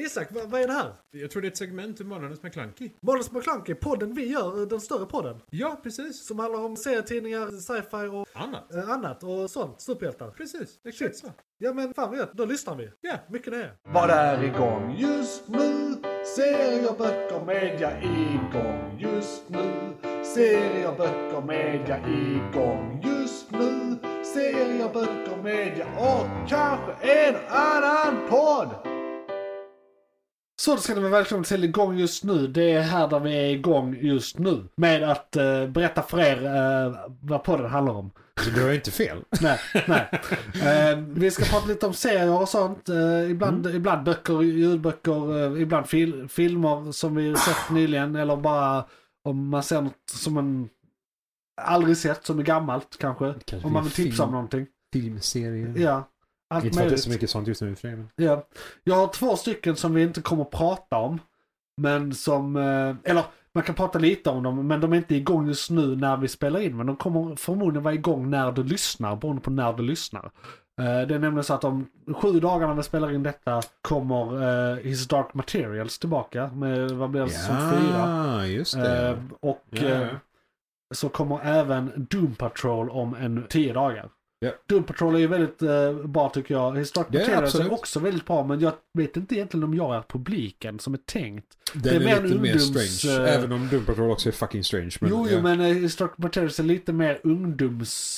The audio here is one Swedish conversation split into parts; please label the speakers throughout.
Speaker 1: Isak, vad, vad är det här?
Speaker 2: Jag tror det är ett segment ur Månadens McKlunky.
Speaker 1: Månadens McKlunky, podden vi gör, eh, den större podden.
Speaker 2: Ja, precis.
Speaker 1: Som handlar om serietidningar, sci-fi och
Speaker 2: Annat.
Speaker 1: eh, annat och sånt. Superhjältar.
Speaker 2: Precis, exakt
Speaker 1: Shit.
Speaker 2: så.
Speaker 1: Ja men fan vad gött, då lyssnar vi.
Speaker 2: Ja.
Speaker 1: Mycket det.
Speaker 3: Vad är igång just nu? Serier, böcker, media igång just nu. Serier, böcker, media igång just nu. Serier, böcker, media och kanske en annan podd. Så då ska ni vara välkomna till igång just nu. Det är här där vi är igång just nu. Med att eh, berätta för er eh, vad podden handlar om.
Speaker 4: Du har ju inte fel.
Speaker 3: Nej, nej. Eh, vi ska prata lite om serier och sånt. Eh, ibland,
Speaker 4: Mm.
Speaker 3: ibland böcker, ljudböcker, eh, ibland fil filmer som vi sett nyligen. Eller bara om man ser något som man aldrig sett, som är gammalt kanske.
Speaker 4: Kanske
Speaker 3: om man
Speaker 4: en
Speaker 3: vill tipsa om
Speaker 4: film.
Speaker 3: någonting.
Speaker 4: Filmserier.
Speaker 3: Ja, allt
Speaker 4: inte för att det är
Speaker 3: möjligt.
Speaker 4: så mycket sånt just nu i och för sig, men
Speaker 3: Ja. Jag har två stycken som vi inte kommer prata om. Men som, eh, eller man kan prata lite om dem, men de är inte igång just nu när vi spelar in. Men de kommer förmodligen vara igång när du lyssnar, beroende på när du lyssnar. Eh, Det är nämligen så att om sju dagar när vi spelar in detta kommer eh, His Dark Materials tillbaka med, vad blir det, säsong fyra?
Speaker 4: Ja, just det.
Speaker 3: Eh, och
Speaker 4: Ja, ja.
Speaker 3: eh, så kommer även Doom Patrol om en tio dagar.
Speaker 4: Ja.
Speaker 3: Doom Patrol är ju väldigt eh, bra tycker jag. Historic
Speaker 4: Ja,
Speaker 3: Materials är
Speaker 4: absolut.
Speaker 3: också väldigt bra men jag vet inte egentligen om jag är publiken som är tänkt.
Speaker 4: Den är,
Speaker 3: det är mer
Speaker 4: lite mer
Speaker 3: ungdoms,
Speaker 4: strange.
Speaker 3: eh,
Speaker 4: Även om Doom Patrol också är fucking strange. Men,
Speaker 3: jo, jo
Speaker 4: ja.
Speaker 3: men eh, Historic Materials är lite mer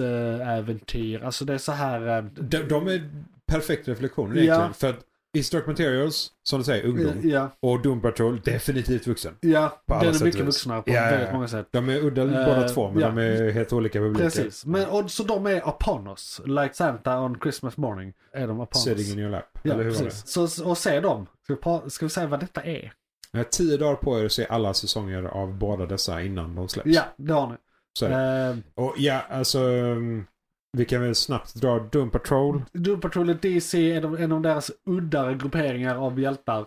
Speaker 3: ungdomsäventyr. Alltså det är så här... Eh,
Speaker 4: de, de är perfekt reflektioner
Speaker 3: Ja.
Speaker 4: egentligen. För att Is Dark Materials, som du säger, ungdom.
Speaker 3: ja,
Speaker 4: Och Doom Patrol, definitivt vuxen.
Speaker 3: ja
Speaker 4: På alla
Speaker 3: den är
Speaker 4: sätt och
Speaker 3: mycket
Speaker 4: vis.
Speaker 3: vuxnare på
Speaker 4: Ja, ja,
Speaker 3: väldigt
Speaker 4: ja.
Speaker 3: många sätt.
Speaker 4: De är udda
Speaker 3: Eh,
Speaker 4: båda två, men
Speaker 3: ja.
Speaker 4: de är helt olika publiker.
Speaker 3: Precis, men och, så de är upon us. Like Santa on Christmas morning är de upon
Speaker 4: Sitting
Speaker 3: us.
Speaker 4: in your lap.
Speaker 3: Ja,
Speaker 4: eller hur var
Speaker 3: precis. Så, och se dem. Ska vi, pa- ska vi säga vad detta är?
Speaker 4: det? Ni har tio dagar på er att se alla säsonger av båda dessa innan de släpps.
Speaker 3: Ja, det har ni.
Speaker 4: Så är det.
Speaker 3: Eh,
Speaker 4: Och ja, alltså... um, Vi kan väl snabbt dra Doom Patrol.
Speaker 3: Doom Patrol och DC är de, en av deras uddare grupperingar av hjältar.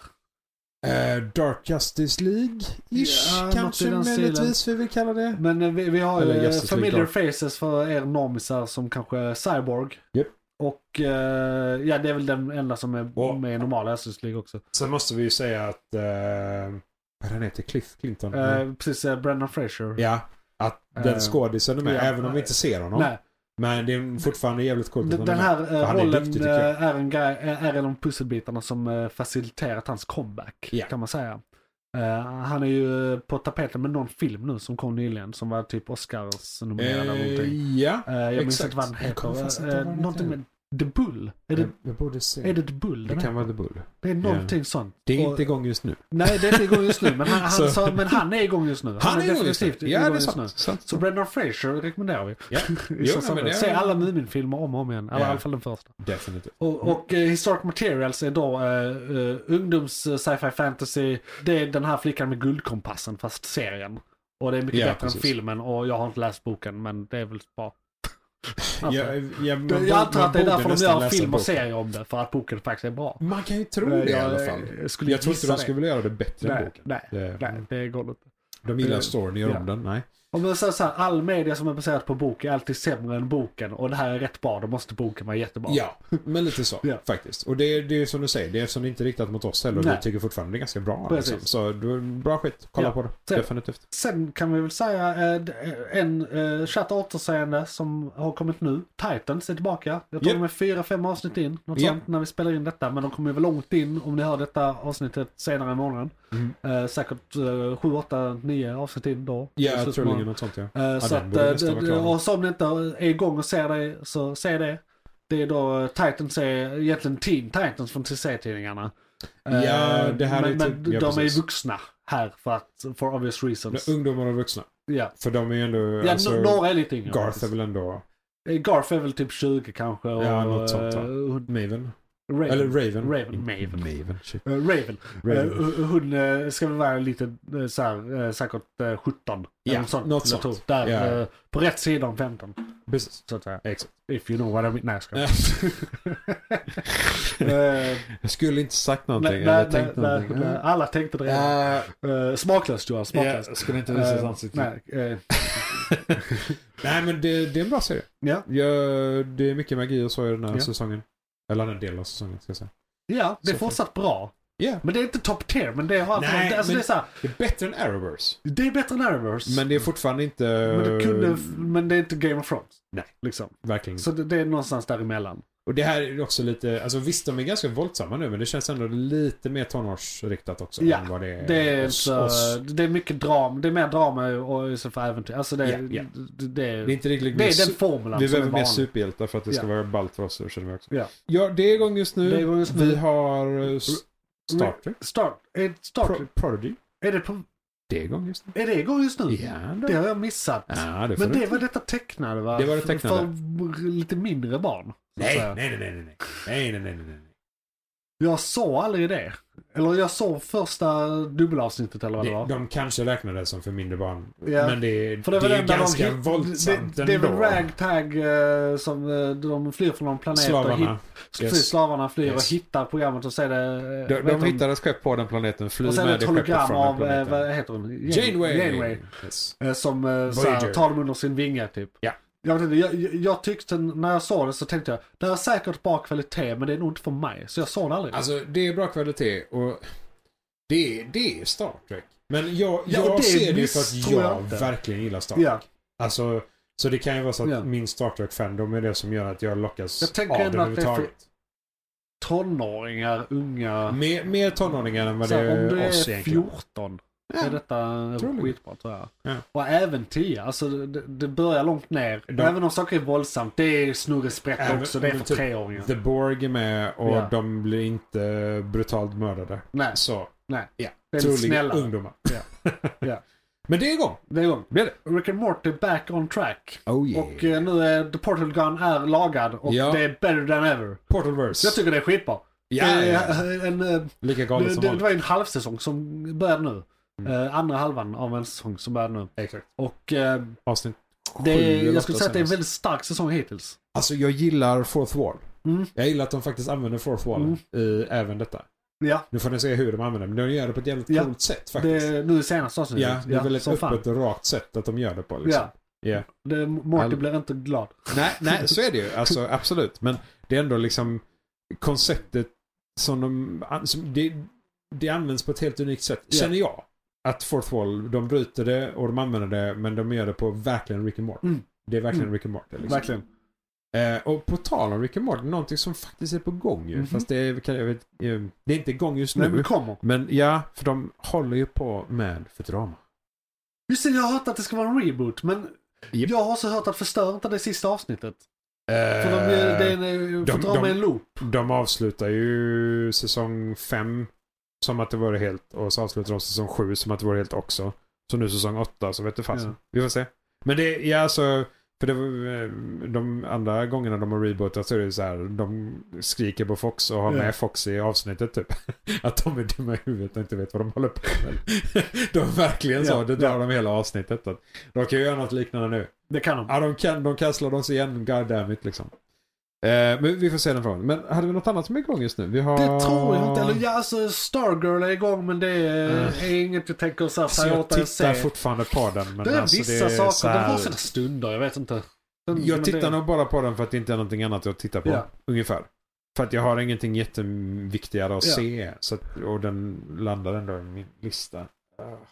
Speaker 4: Eh, Dark Justice League-ish
Speaker 3: Ja, något i
Speaker 4: kanske
Speaker 3: den
Speaker 4: möjligtvis vi vill kalla det.
Speaker 3: Men eh, vi, vi har
Speaker 4: Eller
Speaker 3: ju eh,
Speaker 4: Justice League
Speaker 3: familiar faces för er normisar som kanske är Cyborg.
Speaker 4: Japp.
Speaker 3: Och eh, ja, det är väl den enda som är
Speaker 4: Och-
Speaker 3: med i normala Justice League också.
Speaker 4: Sen måste vi ju säga att... Eh, vad den heter? Cliff Clinton?
Speaker 3: Eh, precis, eh, Brendan Fraser.
Speaker 4: Mm. ja. Att
Speaker 3: eh,
Speaker 4: den skådisen är med,
Speaker 3: ja,
Speaker 4: även om vi
Speaker 3: eh,
Speaker 4: inte ser honom.
Speaker 3: Nej,
Speaker 4: Men det är fortfarande jävligt coolt att
Speaker 3: den,
Speaker 4: han
Speaker 3: den
Speaker 4: är med.
Speaker 3: här eh,
Speaker 4: Han är
Speaker 3: rollen
Speaker 4: duktig, tycker jag.
Speaker 3: eh, är en, grej, eh, är en av pusselbitarna som eh, faciliterat hans comeback.
Speaker 4: Ja.
Speaker 3: Kan man säga. Eh, han är ju på tapeten med någon film nu som kom nyligen som var typ Oscars-nominerad eller någonting.
Speaker 4: Eh, ja.
Speaker 3: Eh, jag minns
Speaker 4: Exakt.
Speaker 3: inte vad den
Speaker 4: Jag kommer faktiskt
Speaker 3: heter.
Speaker 4: inte ihåg
Speaker 3: Eh,
Speaker 4: vad den
Speaker 3: någonting med
Speaker 4: heter.
Speaker 3: The Bull. Är det,
Speaker 4: jag, jag borde se.
Speaker 3: är det The Bull? den
Speaker 4: det
Speaker 3: heter?
Speaker 4: kan vara The Bull.
Speaker 3: det är någonting sånt.
Speaker 4: Det är
Speaker 3: Och-
Speaker 4: inte igång just nu.
Speaker 3: Nej, det är inte igång just nu. Men han,
Speaker 4: Så-
Speaker 3: han, sa, men han är igång just nu.
Speaker 4: Han är igång just nu.
Speaker 3: definitivt
Speaker 4: Ja,
Speaker 3: igång
Speaker 4: det är
Speaker 3: just nu.
Speaker 4: sant. sant.
Speaker 3: Så Brendan Fraser rekommenderar vi.
Speaker 4: Ja.
Speaker 3: I
Speaker 4: Jo,
Speaker 3: så fall.
Speaker 4: men det-
Speaker 3: Se alla Mumin-filmer om och om igen. Eller
Speaker 4: Ja.
Speaker 3: i alla fall den första.
Speaker 4: Definitivt.
Speaker 3: Och, och eh, Historic Materials är då eh, eh, ungdoms eh, sci-fi fantasy. Det är den här flickan med guldkompassen fast serien. Och det är mycket
Speaker 4: Ja,
Speaker 3: bättre
Speaker 4: precis.
Speaker 3: än filmen och jag har inte läst boken men det är väl bra.
Speaker 4: Ja,
Speaker 3: Antar
Speaker 4: ja, man
Speaker 3: Alltså. jag.
Speaker 4: bo-
Speaker 3: jag antar
Speaker 4: man
Speaker 3: att det är
Speaker 4: borde
Speaker 3: därför de
Speaker 4: nästan
Speaker 3: gör
Speaker 4: läsa
Speaker 3: film och
Speaker 4: boken.
Speaker 3: serier om det. För att boken faktiskt är bra.
Speaker 4: Man kan ju tro
Speaker 3: Nej,
Speaker 4: det i
Speaker 3: jag-
Speaker 4: alla fall.
Speaker 3: jag skulle
Speaker 4: jag tror
Speaker 3: gissa
Speaker 4: inte de
Speaker 3: det.
Speaker 4: skulle vilja göra det bättre än
Speaker 3: eh, Nej,
Speaker 4: boken.
Speaker 3: nej,
Speaker 4: Det- Mm.
Speaker 3: nej, det går inte.
Speaker 4: De gillar
Speaker 3: Eh,
Speaker 4: storyn, gör
Speaker 3: ja.
Speaker 4: om den. Nej.
Speaker 3: Om man säger så här, all media som är baserad på bok är alltid sämre än boken och det här är rätt bra, då måste boken vara jättebra.
Speaker 4: Ja, men lite så
Speaker 3: Ja.
Speaker 4: faktiskt. Och det är det är ju som du säger, det är som det inte är riktat mot oss heller.
Speaker 3: Nej.
Speaker 4: Vi tycker fortfarande det är ganska bra.
Speaker 3: Precis.
Speaker 4: Liksom. Så du, bra skit, kolla
Speaker 3: Ja,
Speaker 4: på det.
Speaker 3: så är det.
Speaker 4: Definitivt.
Speaker 3: Sen kan vi väl säga eh, d- en eh, chatt återseende som har kommit nu. Titans är tillbaka. Jag tror
Speaker 4: Japp.
Speaker 3: de är fyra, fem avsnitt in. Något
Speaker 4: Japp.
Speaker 3: sånt när vi spelar in detta. Men de kommer ju väl långt in om ni hör detta avsnittet senare i morgon.
Speaker 4: Mm.
Speaker 3: Eh, säkert eh, sju, åtta, nio avsnitt in då.
Speaker 4: Ja, jag
Speaker 3: Slutet
Speaker 4: tror
Speaker 3: på
Speaker 4: det ligger
Speaker 3: morgonen.
Speaker 4: något sånt ja.
Speaker 3: Eh, så
Speaker 4: den
Speaker 3: att,
Speaker 4: borde
Speaker 3: eh,
Speaker 4: nästan vara
Speaker 3: d-
Speaker 4: klar.
Speaker 3: och som ni inte är igång och ser det så se det. Det är då eh, Titans är egentligen Teen Titans från TC-tidningarna. Eh,
Speaker 4: Ja, det här är
Speaker 3: men,
Speaker 4: typ-
Speaker 3: men
Speaker 4: ja,
Speaker 3: de är ju
Speaker 4: precis.
Speaker 3: vuxna här för att, for obvious reasons.
Speaker 4: Men Ungdomar och vuxna.
Speaker 3: Ja,
Speaker 4: För de är ju ändå...
Speaker 3: ja
Speaker 4: alltså,
Speaker 3: n- några är lite yngre.
Speaker 4: Garth är
Speaker 3: faktiskt.
Speaker 4: väl ändå...
Speaker 3: Eh, Garth är väl typ 20 kanske. Och,
Speaker 4: Ja, något sånt, va?
Speaker 3: eh, hon-
Speaker 4: Maven?
Speaker 3: Raven.
Speaker 4: Eller Raven?
Speaker 3: Raven, Maven.
Speaker 4: Maven. Shit.
Speaker 3: Eh, Raven. Eh,
Speaker 4: Raven.
Speaker 3: hon- hon eh, ska väl vara lite eh, så här, eh, säkert eh, 17.
Speaker 4: Ja,
Speaker 3: eller sånt,
Speaker 4: något
Speaker 3: jag
Speaker 4: sånt.
Speaker 3: tror. Där,
Speaker 4: Ja.
Speaker 3: eh, På rätt sida om 15.
Speaker 4: Precis.
Speaker 3: Så att säga.
Speaker 4: Exakt.
Speaker 3: If you know what I mean. Nej, jag skojar.
Speaker 4: Eh,
Speaker 3: Eh,
Speaker 4: jag skulle inte sagt någonting.
Speaker 3: nej,
Speaker 4: eller
Speaker 3: nej, nej,
Speaker 4: tänkt
Speaker 3: nej,
Speaker 4: någonting.
Speaker 3: nej.
Speaker 4: Ja.
Speaker 3: Alla tänkte det redan.
Speaker 4: Eh,
Speaker 3: Eh, smaklöst Johan, smaklöst.
Speaker 4: jag skulle inte
Speaker 3: Eh, nej, eh,
Speaker 4: Nej men det, det är en bra serie.
Speaker 3: ja.
Speaker 4: Jag, det är mycket magi och så i den här
Speaker 3: Ja.
Speaker 4: säsongen. Eller den här delen av säsongen ska jag säga.
Speaker 3: ja, det är
Speaker 4: Så-
Speaker 3: fortsatt bra.
Speaker 4: Ja.
Speaker 3: Men det är inte top tier, men det har alltid
Speaker 4: Nej,
Speaker 3: varit... Alltså,
Speaker 4: men-
Speaker 3: det, är så här,
Speaker 4: Det är bättre än Arrowverse.
Speaker 3: det är bättre än Arrowverse.
Speaker 4: Men det är fortfarande inte...
Speaker 3: Mm. men, det kunde, men det är inte Game of Thrones.
Speaker 4: Eh, Nej. Mm.
Speaker 3: Liksom.
Speaker 4: Verkligen.
Speaker 3: Så det, det är någonstans däremellan.
Speaker 4: Och det här är också lite... Alltså visst, de är ganska våldsamma nu, men det känns ändå lite mer tonårsriktat också.
Speaker 3: Ja,
Speaker 4: än vad det är
Speaker 3: Det är,
Speaker 4: hos
Speaker 3: så,
Speaker 4: oss.
Speaker 3: det är mycket dram, det är mer drama och istället för äventyr. Alltså det,
Speaker 4: Ja, ja.
Speaker 3: Det, det,
Speaker 4: Det är inte riktigt...
Speaker 3: det
Speaker 4: mer
Speaker 3: är
Speaker 4: su-
Speaker 3: den formulan
Speaker 4: vi
Speaker 3: som är
Speaker 4: behöver mer
Speaker 3: vanlig.
Speaker 4: superhjältar för att det ska
Speaker 3: Ja.
Speaker 4: vara ballt för oss, det känner vi också.
Speaker 3: Ja.
Speaker 4: Ja, det är igång just nu.
Speaker 3: Det är igång just nu.
Speaker 4: Vi har eh, s- Star Trek.
Speaker 3: Start, är, start,
Speaker 4: Pro- Prodigy.
Speaker 3: är, det på,
Speaker 4: Det är igång just nu.
Speaker 3: är det igång just nu?
Speaker 4: Ja, då.
Speaker 3: Mm. Det har jag missat.
Speaker 4: Ja, det får
Speaker 3: Men
Speaker 4: du
Speaker 3: det
Speaker 4: inte-
Speaker 3: var detta tecknade va?
Speaker 4: Det var det tecknade.
Speaker 3: För lite mindre barn. så att
Speaker 4: Nej,
Speaker 3: säga.
Speaker 4: nej, nej, nej, nej, nej. Nej, nej, nej, nej, nej.
Speaker 3: Jag såg aldrig det. Eller jag såg första dubbelavsnittet eller vad det
Speaker 4: Det,
Speaker 3: var.
Speaker 4: de kanske räknar det som för mindre barn.
Speaker 3: Ja.
Speaker 4: Men det, är-
Speaker 3: För det, var
Speaker 4: det är
Speaker 3: den där
Speaker 4: ganska
Speaker 3: de, hit-
Speaker 4: våldsamt
Speaker 3: det, det är väl
Speaker 4: ändå.
Speaker 3: ragtag eh, som eh, de flyr från någon planet. Och hit,
Speaker 4: Slavarna.
Speaker 3: precis, Slavarna flyr
Speaker 4: Yes.
Speaker 3: och hittar programmet och ser det. eh,
Speaker 4: De,
Speaker 3: vet
Speaker 4: de hittar ett skepp på den planeten,
Speaker 3: och
Speaker 4: flyr
Speaker 3: sen är
Speaker 4: med
Speaker 3: det
Speaker 4: det
Speaker 3: ett
Speaker 4: skeppet
Speaker 3: hologram
Speaker 4: från den
Speaker 3: av, eh,
Speaker 4: planeten.
Speaker 3: vad heter hon? Jane-
Speaker 4: Janeway!
Speaker 3: Janeway.
Speaker 4: Yes.
Speaker 3: Eh, Som eh, så här,
Speaker 4: Voyager.
Speaker 3: tar dem under sin vinge typ.
Speaker 4: Ja.
Speaker 3: Jag, vet inte, jag, jag- jag tyckte när jag såg det så tänkte jag det här är säkert bra kvalitet men det är nog inte för mig. Så jag såg det aldrig.
Speaker 4: Alltså, det är bra kvalitet och det, det är Star Trek. Men jag,
Speaker 3: Ja, och
Speaker 4: jag
Speaker 3: det
Speaker 4: ser det ju för att
Speaker 3: misstror jag
Speaker 4: jag
Speaker 3: inte.
Speaker 4: verkligen gillar Star Trek.
Speaker 3: ja.
Speaker 4: Alltså, så det kan ju vara så att
Speaker 3: Ja.
Speaker 4: min Star Trek-fandom är det som gör att jag lockas
Speaker 3: Jag tänker
Speaker 4: av det
Speaker 3: ändå att det är för-
Speaker 4: överhuvudtaget.
Speaker 3: Tonåringar, unga.
Speaker 4: Mer, mer tonåringar än vad
Speaker 3: Så
Speaker 4: det
Speaker 3: här, om
Speaker 4: är
Speaker 3: du
Speaker 4: oss
Speaker 3: är
Speaker 4: egentligen.
Speaker 3: 14
Speaker 4: Ja,
Speaker 3: är detta
Speaker 4: troligen.
Speaker 3: skitbra tror jag.
Speaker 4: Ja.
Speaker 3: Och även 10, alltså det, det börjar lånigt ner.
Speaker 4: De-
Speaker 3: Även om saker är våldsamt, det är snurresprätt
Speaker 4: Även-
Speaker 3: också, det är för
Speaker 4: typ
Speaker 3: treåringar.
Speaker 4: The Borg är med och
Speaker 3: Ja.
Speaker 4: de blir inte brutalt mördade.
Speaker 3: Nej,
Speaker 4: Så,
Speaker 3: nej.
Speaker 4: ja.
Speaker 3: Det är lite
Speaker 4: Troligen
Speaker 3: snällare.
Speaker 4: ungdomar.
Speaker 3: Ja.
Speaker 4: Men det är igång.
Speaker 3: Det är igång.
Speaker 4: Blir det?
Speaker 3: Rick and Morty back on track.
Speaker 4: Oh yeah.
Speaker 3: Och eh, nu är The Portal Gun är lagad och
Speaker 4: Ja.
Speaker 3: det är better than ever.
Speaker 4: Portalverse.
Speaker 3: Jag tycker det är skitbra.
Speaker 4: ja,
Speaker 3: Det
Speaker 4: ja, ja.
Speaker 3: är, eh, en, eh,
Speaker 4: Lika galet
Speaker 3: det,
Speaker 4: som
Speaker 3: det, det
Speaker 4: vanligt. Mm.
Speaker 3: var ju en halvsäsong som började nu. Eh, andra halvan av en säsong som började nu.
Speaker 4: Exakt.
Speaker 3: Och eh,
Speaker 4: Avsnitt
Speaker 3: det
Speaker 4: sju
Speaker 3: är,
Speaker 4: eller
Speaker 3: jag skulle
Speaker 4: åtta
Speaker 3: säga att det är en
Speaker 4: senast.
Speaker 3: väldigt stark säsong hittills.
Speaker 4: Alltså jag gillar Fourth Wall.
Speaker 3: Mm.
Speaker 4: Jag gillar att de faktiskt använder Fourth Wall i även detta.
Speaker 3: Ja,
Speaker 4: Nu får ni se hur de använder det, men de gör det på ett jävligt
Speaker 3: Ja.
Speaker 4: coolt sätt
Speaker 3: det
Speaker 4: faktiskt.
Speaker 3: är nu i senaste avsnittet.
Speaker 4: Ja, det är väl ett
Speaker 3: som fan.
Speaker 4: öppet och rakt sätt att de gör det på. Liksom.
Speaker 3: Ja. Det, Morty
Speaker 4: All-
Speaker 3: blir inte glad.
Speaker 4: Nej, nej, så är det ju. Alltså, absolut. Men det är ändå liksom konceptet som de... an- Som det, det används på ett helt unikt sätt,
Speaker 3: Ja.
Speaker 4: känner jag. Att Fourth Wall, de bryter det och de använder det, men de gör det på verkligen Rick and Morty.
Speaker 3: Mm.
Speaker 4: Det är verkligen
Speaker 3: Mm.
Speaker 4: Rick and Morty. Liksom.
Speaker 3: Verkligen.
Speaker 4: Eh, och på tal om Rick and Morty, någonting som faktiskt är på gång ju.
Speaker 3: Mhm.
Speaker 4: Fast det är, kan jag vet, eh, det är inte igång just nu.
Speaker 3: Men det kommer.
Speaker 4: Men ja, för de håller ju på med Futurama.
Speaker 3: Just det, jag har hört att det ska vara en reboot, men
Speaker 4: Japp.
Speaker 3: jag har också hört att förstör inte det sista avsnittet. För de, det är en,
Speaker 4: Eh, de-
Speaker 3: för de,
Speaker 4: de-
Speaker 3: med en loop.
Speaker 4: De avslutar ju säsong 5 som att det vore helt och så avslutar de säsong 7 som att det vore helt också. Så nu säsong 8 så vet du fasen.
Speaker 3: Ja.
Speaker 4: Vi får se. Men det, ja alltså, för det, var, eh, de andra gångerna de har rebootat så är det så här, de skriker på Fox och har
Speaker 3: Ja.
Speaker 4: med Fox i avsnittet typ. Att de är dumma i huvudet och inte vet vad de håller på med. De är verkligen så,
Speaker 3: Ja,
Speaker 4: det drar de hela avsnittet. Att De kan ju göra något liknande nu.
Speaker 3: Det kan de.
Speaker 4: Ja, de, kan, de kastar oss igen, goddammit liksom. Eh, men vi får se den frågan. Men hade vi något annat som är igång just nu? Vi har...
Speaker 3: Det tror jag inte. Eller ja, alltså Stargirl är igång men det är, är inget jag tänker såhär
Speaker 4: Eh. Alltså,
Speaker 3: säga
Speaker 4: jag
Speaker 3: åt dig att
Speaker 4: tittar
Speaker 3: se.
Speaker 4: fortfarande på den. Men
Speaker 3: Det är
Speaker 4: alltså,
Speaker 3: vissa
Speaker 4: det är så
Speaker 3: saker.
Speaker 4: här...
Speaker 3: Den har sina stunder, jag vet inte. Den, men
Speaker 4: Jag tittar
Speaker 3: det,
Speaker 4: nog bara på den för att det inte är någonting annat att titta på.
Speaker 3: Ja.
Speaker 4: Ungefär. För att jag har ingenting jätteviktigare att
Speaker 3: Ja.
Speaker 4: se. Så att, och den landar ändå i min lista.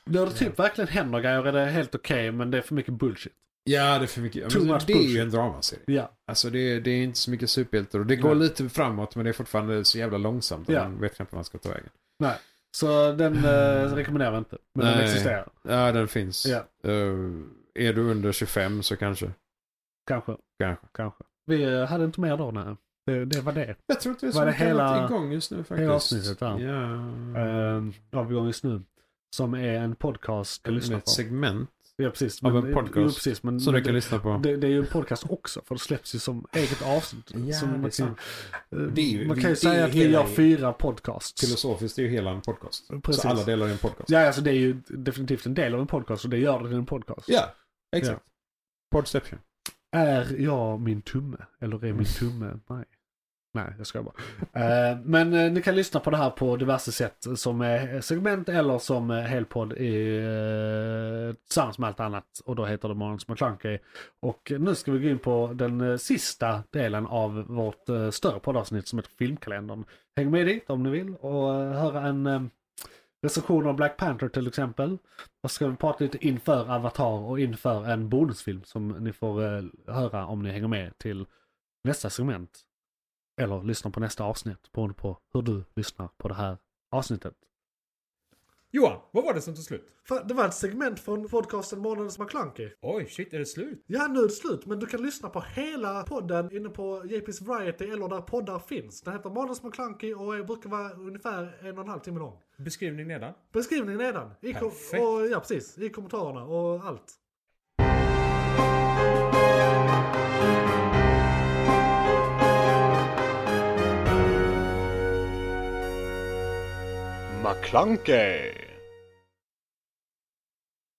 Speaker 3: När det typ verkligen händer grejer är det helt okej men det är för mycket bullshit.
Speaker 4: Ja, det är för mycket.
Speaker 3: Too
Speaker 4: Men
Speaker 3: much
Speaker 4: det är ju
Speaker 3: bullshit.
Speaker 4: en dramaserie.
Speaker 3: Ja.
Speaker 4: Alltså det är, det är inte så mycket superhjältar. Och det går
Speaker 3: Nej.
Speaker 4: lite framåt men det är fortfarande så jävla långsamt.
Speaker 3: Ja.
Speaker 4: Ja. Man vet knappt vad man ska ta vägen.
Speaker 3: Så den eh, rekommenderar vi inte. Men den
Speaker 4: Mm. Nej.
Speaker 3: existerar.
Speaker 4: Ja, den finns.
Speaker 3: Ja.
Speaker 4: Eh, är du under 25 så kanske.
Speaker 3: Kanske.
Speaker 4: Kanske.
Speaker 3: Kanske. Vi eh, hade inte mer då, nej. Det, det var det.
Speaker 4: Jag tror inte det
Speaker 3: Var
Speaker 4: är så
Speaker 3: det
Speaker 4: mycket
Speaker 3: hela-
Speaker 4: annat igång just nu faktiskt.
Speaker 3: hela avsnittet, va?
Speaker 4: Ja.
Speaker 3: Mm. Avgång just nu. Som är en podcast du
Speaker 4: Med
Speaker 3: lyssnar
Speaker 4: ett
Speaker 3: på.
Speaker 4: segment
Speaker 3: Ja, precis.
Speaker 4: av
Speaker 3: Men-
Speaker 4: en podcast
Speaker 3: Jo, precis. Men,
Speaker 4: som
Speaker 3: men
Speaker 4: du kan lyssna på.
Speaker 3: Det, det är ju en podcast också, för det släpps ju som eget avsnitt.
Speaker 4: Ja,
Speaker 3: som man,
Speaker 4: det är
Speaker 3: kan,
Speaker 4: sant.
Speaker 3: eh,
Speaker 4: Det är ju-
Speaker 3: man kan ju
Speaker 4: det är
Speaker 3: säga att vi
Speaker 4: hela-
Speaker 3: gör fyra podcasts.
Speaker 4: Filosofiskt är ju hela en podcast.
Speaker 3: Precis.
Speaker 4: Så alla delar är en podcast.
Speaker 3: Ja, alltså det är ju definitivt en del av en podcast och det gör det till en podcast.
Speaker 4: Ja, exakt. Podception.
Speaker 3: Är jag min tumme? Eller är min tumme mig? Nej, jag skojar bara. Eh, Men eh, ni kan lyssna på det här på diverse sätt som eh, segment eller som eh, helpodd i, eh, tillsammans med allt annat. Och då heter det Månads McClunky. Och nu ska vi gå in på den eh, sista delen av vårt eh, större poddavsnitt som heter Filmkalendern. Häng med dit om ni vill och eh, höra en eh, recension av Black Panther till exempel. Och så ska vi prata lite inför Avatar och inför en bonusfilm som ni får eh, höra om ni hänger med till nästa segment. Eller lyssnar på nästa avsnitt beroende på hur du lyssnar på det här avsnittet.
Speaker 4: Johan, vad var det som tog slut?
Speaker 5: Fan, det var ett segment från podcasten Månadens McClunky.
Speaker 4: Oj, shit, är det slut?
Speaker 5: Ja, nu är det slut, men du kan lyssna på hela podden inne på JP's Variety eller där poddar finns. Den heter Månadens McClunky och är- brukar vara ungefär en och en halv timme lång.
Speaker 4: Beskrivning nedan.
Speaker 5: Beskrivningen nedan. I kom-
Speaker 4: Perfekt.
Speaker 5: och, ja, precis. I kommentarerna och allt.
Speaker 6: McClunkey!